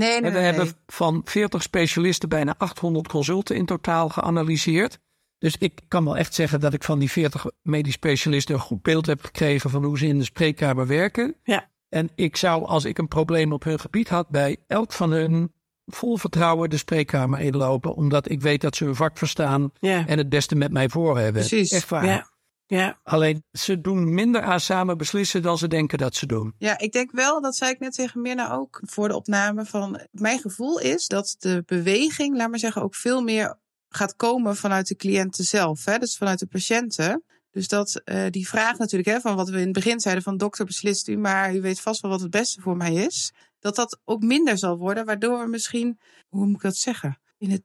nee,
we
nee.
hebben van 40 specialisten bijna 800 consulten in totaal geanalyseerd. Dus ik kan wel echt zeggen dat ik van die 40 medisch specialisten een goed beeld heb gekregen van hoe ze in de spreekkamer werken.
Ja.
En ik zou, als ik een probleem op hun gebied had, bij elk van hun vol vertrouwen de spreekkamer inlopen, omdat ik weet dat ze hun vak verstaan
ja,
en het beste met mij voor hebben.
Precies,
Echt waar.
ja, ja,
Alleen ze doen minder aan samen beslissen dan ze denken dat ze doen.
Ja, ik denk wel, dat zei ik net tegen Mirna ook voor de opname, van mijn gevoel is dat de beweging, laat maar zeggen, ook veel meer gaat komen vanuit de cliënten zelf, hè? dus vanuit de patiënten. Dus dat eh, die vraag natuurlijk, hè, van wat we in het begin zeiden, van dokter beslist u, maar u weet vast wel wat het beste voor mij is. Dat dat ook minder zal worden, waardoor we misschien, hoe moet ik dat zeggen, in het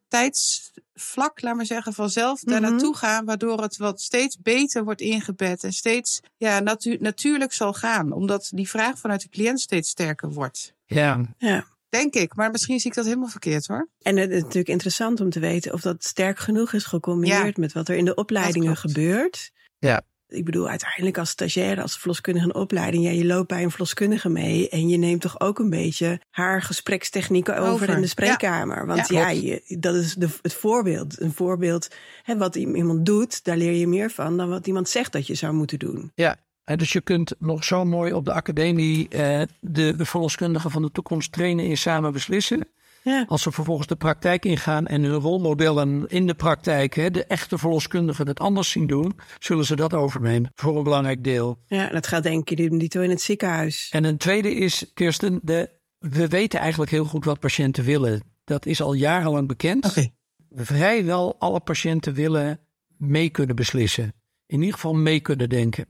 tijdsvlak, laat maar zeggen, vanzelf daar
Mhm.
naartoe gaan, waardoor het wat steeds beter wordt ingebed en steeds ja, natu- natuurlijk zal gaan, omdat die vraag vanuit de cliënt steeds sterker wordt.
Ja,
ja.
Denk ik, maar misschien zie ik dat helemaal verkeerd hoor.
En het is natuurlijk interessant om te weten of dat sterk genoeg is gecombineerd met wat er in de opleidingen
Dat klopt.
gebeurt.
Ja.
Ik bedoel, uiteindelijk als stagiaire, als verloskundige in opleiding, ja, je loopt bij een verloskundige mee en je neemt toch ook een beetje haar gesprekstechnieken over,
Over,
in de
ja.
spreekkamer. Want
Ja.
ja, je- dat is de, het voorbeeld. Een voorbeeld, hè, wat i- iemand doet, daar leer je meer van dan wat iemand zegt dat je zou moeten doen.
ja. En dus je kunt nog zo mooi op de academie eh, de, de verloskundigen van de toekomst trainen in samen beslissen.
Ja,
Als ze vervolgens de praktijk ingaan en hun rolmodellen in de praktijk, hè, de echte verloskundigen het anders zien doen, zullen ze dat overnemen voor een belangrijk deel.
ja dat gaat denk ik die in het ziekenhuis.
En een tweede is, Kirsten, de, we weten eigenlijk heel goed wat patiënten willen. Dat is al jarenlang bekend. vrijwel alle patiënten willen mee kunnen beslissen. in ieder geval mee kunnen denken.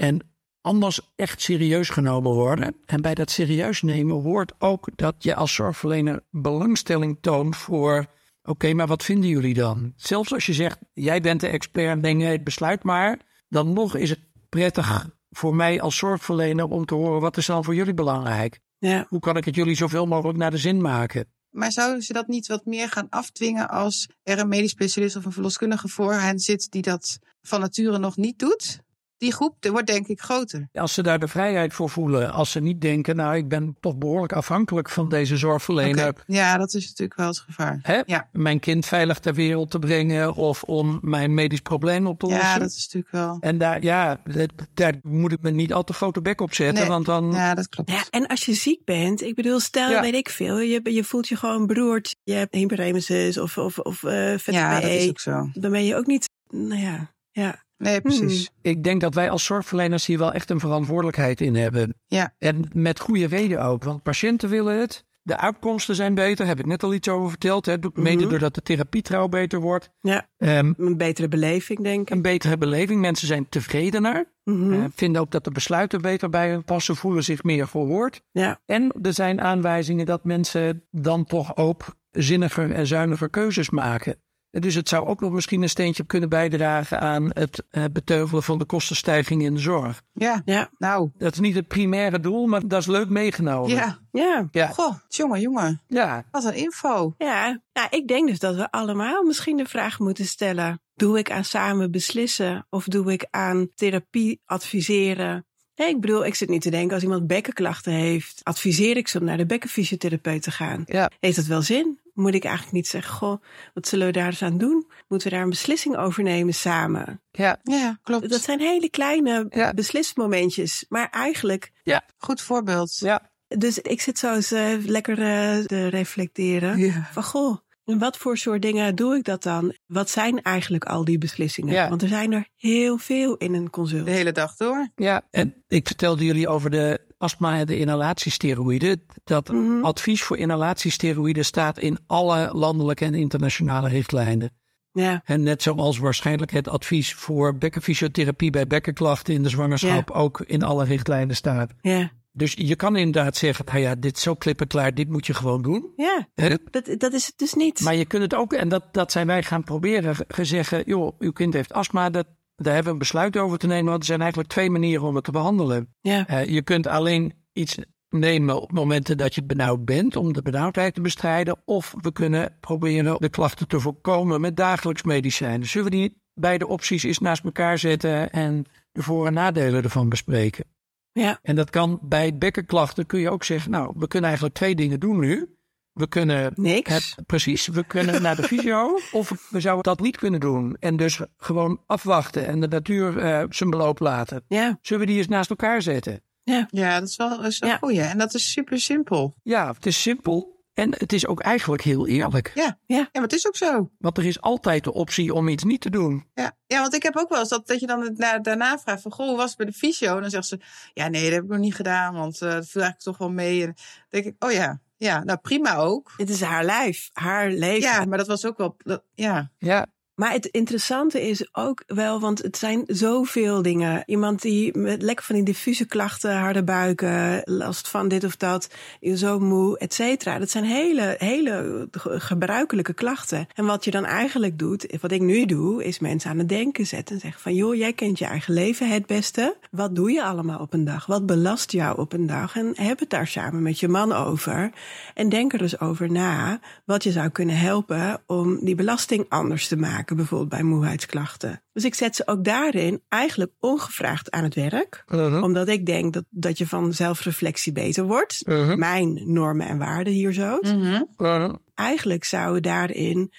En anders echt serieus genomen worden. En bij dat serieus nemen hoort ook dat je als zorgverlener belangstelling toont voor. Oké, maar wat vinden jullie dan? Zelfs als je zegt, jij bent de expert, neem jij het besluit maar. Dan nog is het prettig voor mij als zorgverlener om te horen wat is dan voor jullie belangrijk.
Ja.
Hoe kan ik het jullie zoveel mogelijk naar de zin maken?
Maar zouden ze dat niet wat meer gaan afdwingen als er een medisch specialist of een verloskundige voor hen zit die dat van nature nog niet doet? Die groep die wordt denk ik groter.
Als ze daar de vrijheid voor voelen, als ze niet denken, nou ik ben toch behoorlijk afhankelijk van deze zorgverlener.
Oké. Ja, dat is natuurlijk wel het gevaar.
Hè?
Ja.
Mijn kind veilig ter wereld te brengen of om mijn medisch probleem op te lossen.
Ja, dat is natuurlijk wel.
En daar, ja, dat- daar moet ik me niet al te grote bek op zetten,
Nee.
want dan...
Ja, dat klopt.
Ja, en als je ziek bent, ik bedoel, stel,
Ja.
weet ik veel, je, je voelt je gewoon beroerd. Je hebt hyperemesis of, of, of eh vette
Ja, dat
PE.
is ook zo.
Dan ben je ook niet, nou ja, ja.
Nee, precies.
Ik denk dat wij als zorgverleners hier wel echt een verantwoordelijkheid in hebben.
Ja.
En met goede reden ook, want patiënten willen het. De uitkomsten zijn beter, heb ik net al iets over verteld. Hè. Doe- Mede
Mhm.
doordat de therapietrouw beter wordt.
Ja.
Ehm,
een betere beleving, denk ik.
een betere beleving, mensen zijn tevredener.
Mhm.
Eh, vinden ook dat de besluiten beter bij hen passen, voelen zich meer gehoord.
Ja.
En er zijn aanwijzingen dat mensen dan toch ook zinniger en zuiniger keuzes maken. En Dus het zou ook nog misschien een steentje kunnen bijdragen aan het eh, beteugelen van de kostenstijging in de zorg.
Ja,
Ja.
nou.
Dat is niet het primaire doel, maar dat is leuk meegenomen.
Ja.
ja.
Ja.
Goh, jongen, jongen.
Ja.
Wat een info.
Ja, nou, ik denk dus dat we allemaal misschien de vraag moeten stellen: doe ik aan samen beslissen of doe ik aan therapie adviseren? Nee, ik bedoel, ik zit niet te denken als iemand bekkenklachten heeft, adviseer ik ze om naar de bekkenfysiotherapeut te gaan.
Ja.
Heeft dat wel zin? Moet ik eigenlijk niet zeggen, goh, wat zullen we daar eens aan doen? Moeten we daar een beslissing over nemen samen?
Ja.
Ja, klopt.
Dat zijn hele kleine
Ja.
beslismomentjes, maar eigenlijk,
Goed voorbeeld.
ja.
dus ik zit zo eens eh, lekker eh, te reflecteren.
Ja.
van goh, en wat voor soort dingen doe ik dat dan? Wat zijn eigenlijk al die beslissingen?
Ja.
Want er zijn er heel veel in een consult.
De hele dag door.
Ja. En ik vertelde jullie over de astma en de inhalatiesteroïden. Dat
Mhm.
advies voor inhalatiesteroïden staat in alle landelijke en internationale richtlijnen.
Ja,
En net zoals waarschijnlijk het advies voor bekkenfysiotherapie bij bekkenklachten in de zwangerschap ook in alle richtlijnen staat.
ja,
Dus je kan inderdaad zeggen, nou ja, dit is zo klippenklaar, dit moet je gewoon doen.
ja.
Hè?
Dat, dat is het dus niet.
Maar je kunt het ook, en dat, dat zijn wij gaan proberen, ge- zeggen, joh, uw kind heeft astma, dat, daar hebben we een besluit over te nemen, want er zijn eigenlijk twee manieren om het te behandelen.
ja,
Eh, je kunt alleen iets nemen op momenten dat je benauwd bent om de benauwdheid te bestrijden. Of we kunnen proberen de klachten te voorkomen met dagelijks medicijnen. Zullen we die beide opties eens naast elkaar zetten en de voor- en nadelen ervan bespreken?
ja,
En dat kan bij bekkenklachten kun je ook zeggen, nou, we kunnen eigenlijk twee dingen doen nu. We kunnen
niks.
het, precies, we kunnen naar de fysio of we zouden dat niet kunnen doen. En dus gewoon afwachten en de natuur eh, zijn beloop laten.
Ja,
Zullen we die eens naast elkaar zetten?
ja,
Ja, dat is wel, dat is wel
Ja.
een goeie. En dat is super simpel.
Ja, het is simpel en het is ook eigenlijk heel eerlijk.
Ja, maar het is ook zo.
Want er is altijd de optie om iets niet te doen.
Ja, ja want ik heb ook wel eens dat, dat je dan het na- daarna vraagt van... Goh, hoe was het bij de fysio? En dan zegt ze... Ja, nee, dat heb ik nog niet gedaan, want eh dat viel eigenlijk toch wel mee. En dan denk ik, oh ja, ja, nou prima ook.
het is haar lijf, haar leven.
Ja, maar dat was ook wel... dat- ja,
Ja,
Maar het interessante is ook wel, want het zijn zoveel dingen. Iemand die met lekker van die diffuse klachten, harde buiken, last van dit of dat, zo moe, et cetera. Dat zijn hele, hele ge- gebruikelijke klachten. En wat je dan eigenlijk doet, wat ik nu doe, is mensen aan het denken zetten. En zeggen van, joh, jij kent je eigen leven het beste. Wat doe je allemaal op een dag? Wat belast jou op een dag? En heb het daar samen met je man over. En denk er dus over na wat je zou kunnen helpen om die belasting anders te maken, bijvoorbeeld bij moeheidsklachten. Dus ik zet ze ook daarin eigenlijk ongevraagd aan het werk, omdat ik denk dat, dat je van zelfreflectie beter wordt. Mijn normen en waarden hier zo.
Mhm.
Eigenlijk zou je daarin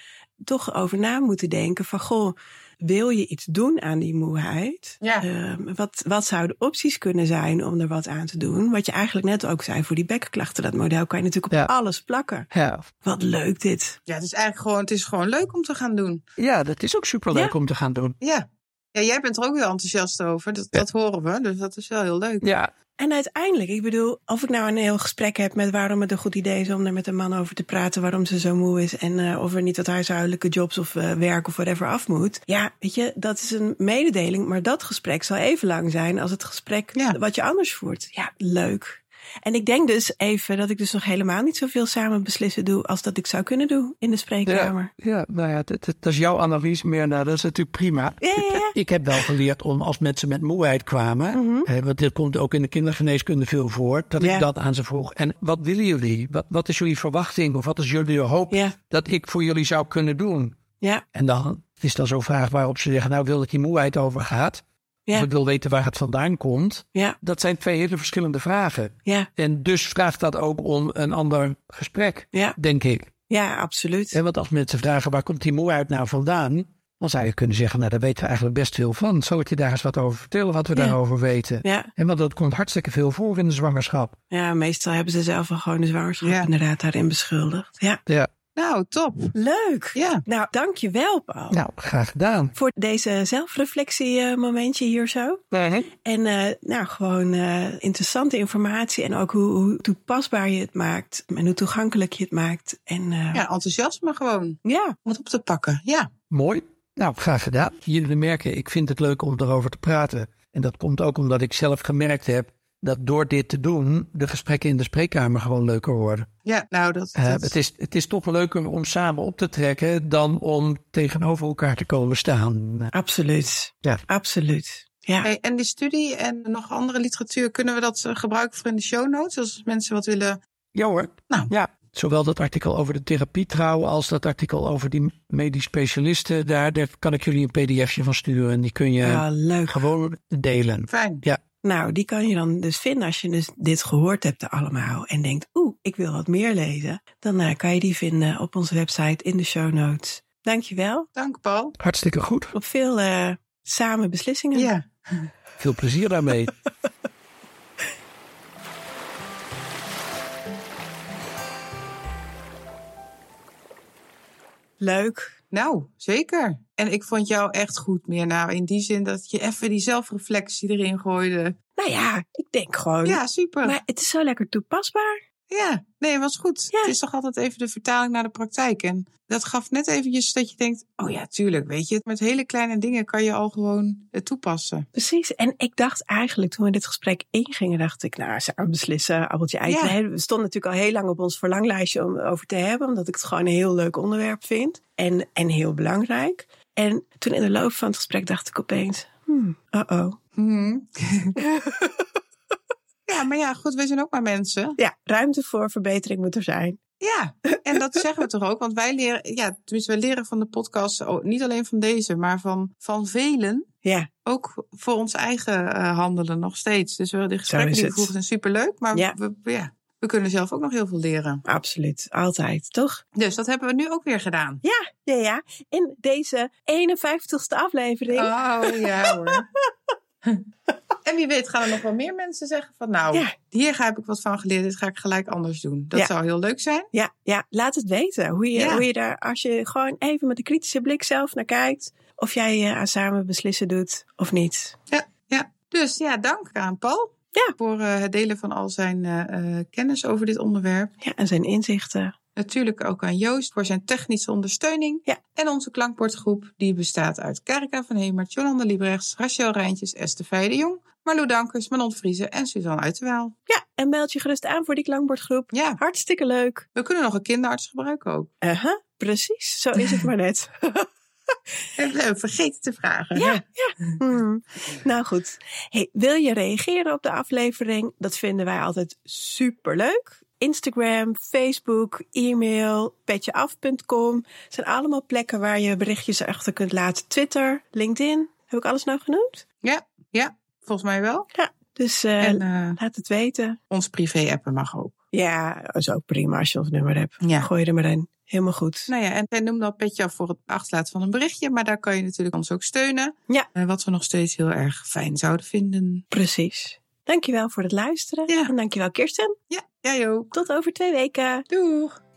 toch over na moeten denken van goh, wil je iets doen aan die moeheid?
Ja.
Ehm, wat, wat zouden opties kunnen zijn om er wat aan te doen? Wat je eigenlijk net ook zei voor die bekkenklachten, dat model kan je natuurlijk op
Ja.
alles plakken.
ja.
Wat leuk dit.
ja het, is eigenlijk gewoon, het is gewoon leuk om te gaan doen.
ja dat is ook superleuk om te gaan doen.
Ja. ja, jij bent er ook heel enthousiast over. Dat, dat horen we, dus dat is wel heel leuk.
Ja,
En uiteindelijk, ik bedoel, of ik nou een heel gesprek heb met waarom het een goed idee is om er met een man over te praten, waarom ze zo moe is en eh, of er niet wat huishoudelijke jobs of eh, werk of whatever af moet. Ja, weet je, dat is een mededeling, maar dat gesprek zal even lang zijn als het gesprek
Ja.
wat je anders voert. Ja, leuk. En ik denk dus even dat ik dus nog helemaal niet zoveel samen beslissen doe als dat ik zou kunnen doen in de spreekkamer.
Ja, nou ja, dat, dat- dat is jouw analyse meer. Nou, dat is natuurlijk prima.
Ja, ja, ja.
Ik heb wel geleerd om als mensen met moeheid kwamen, hè, want dit komt ook in de kindergeneeskunde veel voor, dat
Ja.
ik dat aan ze vroeg. En wat willen jullie? Wat, wat is jullie verwachting of wat is jullie hoop
Ja.
dat ik voor jullie zou kunnen doen?
Ja,
En dan is dan zo'n vraag waarop ze zeggen, nou wil dat die moeheid over gaat. Of
ja,
ik wil weten waar het vandaan komt.
ja,
Dat zijn twee hele verschillende vragen.
ja,
En dus vraagt dat ook om een ander gesprek,
ja,
denk ik.
ja, absoluut.
En want als mensen vragen waar komt die moeheid nou vandaan, dan zou je kunnen zeggen, nou daar weten we eigenlijk best veel van. Zou het je daar eens wat over vertellen, wat we
Ja.
daarover weten?
Ja,
En want dat komt hartstikke veel voor in de zwangerschap.
ja, meestal hebben ze zelf al gewoon de zwangerschap
Ja.
inderdaad daarin beschuldigd. Ja,
Ja,
Nou, top.
leuk.
Ja.
Nou, dankjewel Paul.
nou, graag gedaan.
Voor deze zelfreflectiemomentje hier zo. En eh, nou, gewoon eh, interessante informatie. En ook hoe, hoe toepasbaar je het maakt. En hoe toegankelijk je het maakt. En eh, ja.
Ja, enthousiasme gewoon. Om het op te pakken. Ja.
Mooi. Nou, graag gedaan. Jullie merken, ik vind het leuk om erover te praten. En dat komt ook omdat ik zelf gemerkt heb dat door dit te doen, de gesprekken in de spreekkamer gewoon leuker worden.
Ja, nou, dat,
Eh,
dat-
het, is, het is toch leuker om samen op te trekken dan om tegenover elkaar te komen staan.
absoluut.
Ja.
Absoluut. Ja.
Hey, en die studie en nog andere literatuur, kunnen we dat eh, gebruiken voor in de show notes? Als mensen wat willen.
Ja hoor.
Nou.
Ja. Zowel dat artikel over de therapietrouw als dat artikel over die medisch specialisten. Daar, daar kan ik jullie een pdfje van sturen. En die kun je
Ah, leuk.
gewoon delen.
Fijn.
Nou, die kan je dan dus vinden als je dus dit gehoord hebt allemaal en denkt, oeh, ik wil wat meer lezen. Dan eh, kan je die vinden op onze website in de show notes. Dankjewel.
Dank, Paul.
Hartstikke goed.
Op veel eh, samen beslissingen.
Ja.
Veel plezier daarmee.
Leuk.
Nou, zeker. En ik vond jou echt goed, Mirna. In die zin dat je even die zelfreflectie erin gooide.
Nou Oh, ja, ik denk gewoon.
Ja, super.
Maar het is zo lekker toepasbaar.
Ja, nee, was goed.
Ja.
Het is toch altijd even de vertaling naar de praktijk. En dat gaf net eventjes dat je denkt, oh ja, tuurlijk, weet je. Met hele kleine dingen kan je al gewoon het toepassen.
Precies. En ik dacht eigenlijk, toen we dit gesprek ingingen, dacht ik, nou, samen beslissen, appeltje ei.
Ja.
Nee, We stonden natuurlijk al heel lang op ons verlanglijstje om over te hebben, omdat ik het gewoon een heel leuk onderwerp vind. En, en heel belangrijk. En toen in de loop van het gesprek dacht ik opeens, hmm, uh-oh.
Mhm. ja, maar ja, goed, wij zijn ook maar mensen.
Ja, ruimte voor verbetering moet er zijn.
Ja, en dat zeggen we toch ook. Want wij leren, ja, tenminste, wij leren van de podcast, oh, niet alleen van deze, maar van, van velen.
Ja,
Ook voor ons eigen eh, handelen nog steeds. Dus we, de gesprekken
is
die we
het.
voeren zijn superleuk. Maar
Ja.
We, ja, we kunnen zelf ook nog heel veel leren.
absoluut. Altijd, toch?
Dus dat hebben we nu ook weer gedaan.
Ja, ja, ja. In deze 51ste aflevering.
Oh ja hoor. en wie weet gaan er nog wel meer mensen zeggen van nou,
Ja.
hier ga, heb ik wat van geleerd, dit ga ik gelijk anders doen. Dat
Ja.
zou heel leuk zijn.
Ja, ja, laat het weten. Hoe je,
Ja.
hoe je daar, als je gewoon even met een kritische blik zelf naar kijkt. Of jij eh, aan samen beslissen doet of niet.
Ja. Dus ja, dank aan Paul
Ja.
voor eh, het delen van al zijn eh, eh, kennis over dit onderwerp.
Ja, en zijn inzichten.
Natuurlijk ook aan Joost voor zijn technische ondersteuning.
Ja.
En onze klankbordgroep, die bestaat uit Karika van Hemert, Jolanda Liebrechts, Rachel Rijntjes, Esther Vijde Jong, Marlo Dankers, Manon Vriezen en Suzanne Uitenwaal.
Ja, en meld je gerust aan voor die klankbordgroep.
Ja,
Hartstikke leuk.
we kunnen nog een kinderarts gebruiken ook.
Uh -huh, precies, zo is het maar net.
En we hebben vergeten te vragen.
Ja, ja. Hmm. Nou goed. Hey, wil je reageren op de aflevering? Dat vinden wij altijd superleuk. Instagram, Facebook, e-mail, petjeaf.com. zijn allemaal plekken waar je berichtjes achter kunt laten. Twitter, LinkedIn. Heb ik alles nou genoemd?
Volgens mij wel.
Dus eh,
En eh,
laat het weten.
ons privé-appen mag ook.
Ja, dat is ook prima als je ons nummer hebt.
Ja.
Gooi er maar in. Helemaal goed.
Nou ja, en zij noemde al Petje af voor het achterlaten van een berichtje. Maar daar kan je natuurlijk ons ook steunen.
Ja.
Eh, wat we nog steeds heel erg fijn zouden vinden.
Precies. Dankjewel voor het luisteren.
Ja.
En dankjewel Kirsten.
Ja, jij ook.
Tot over twee weken.
Doeg!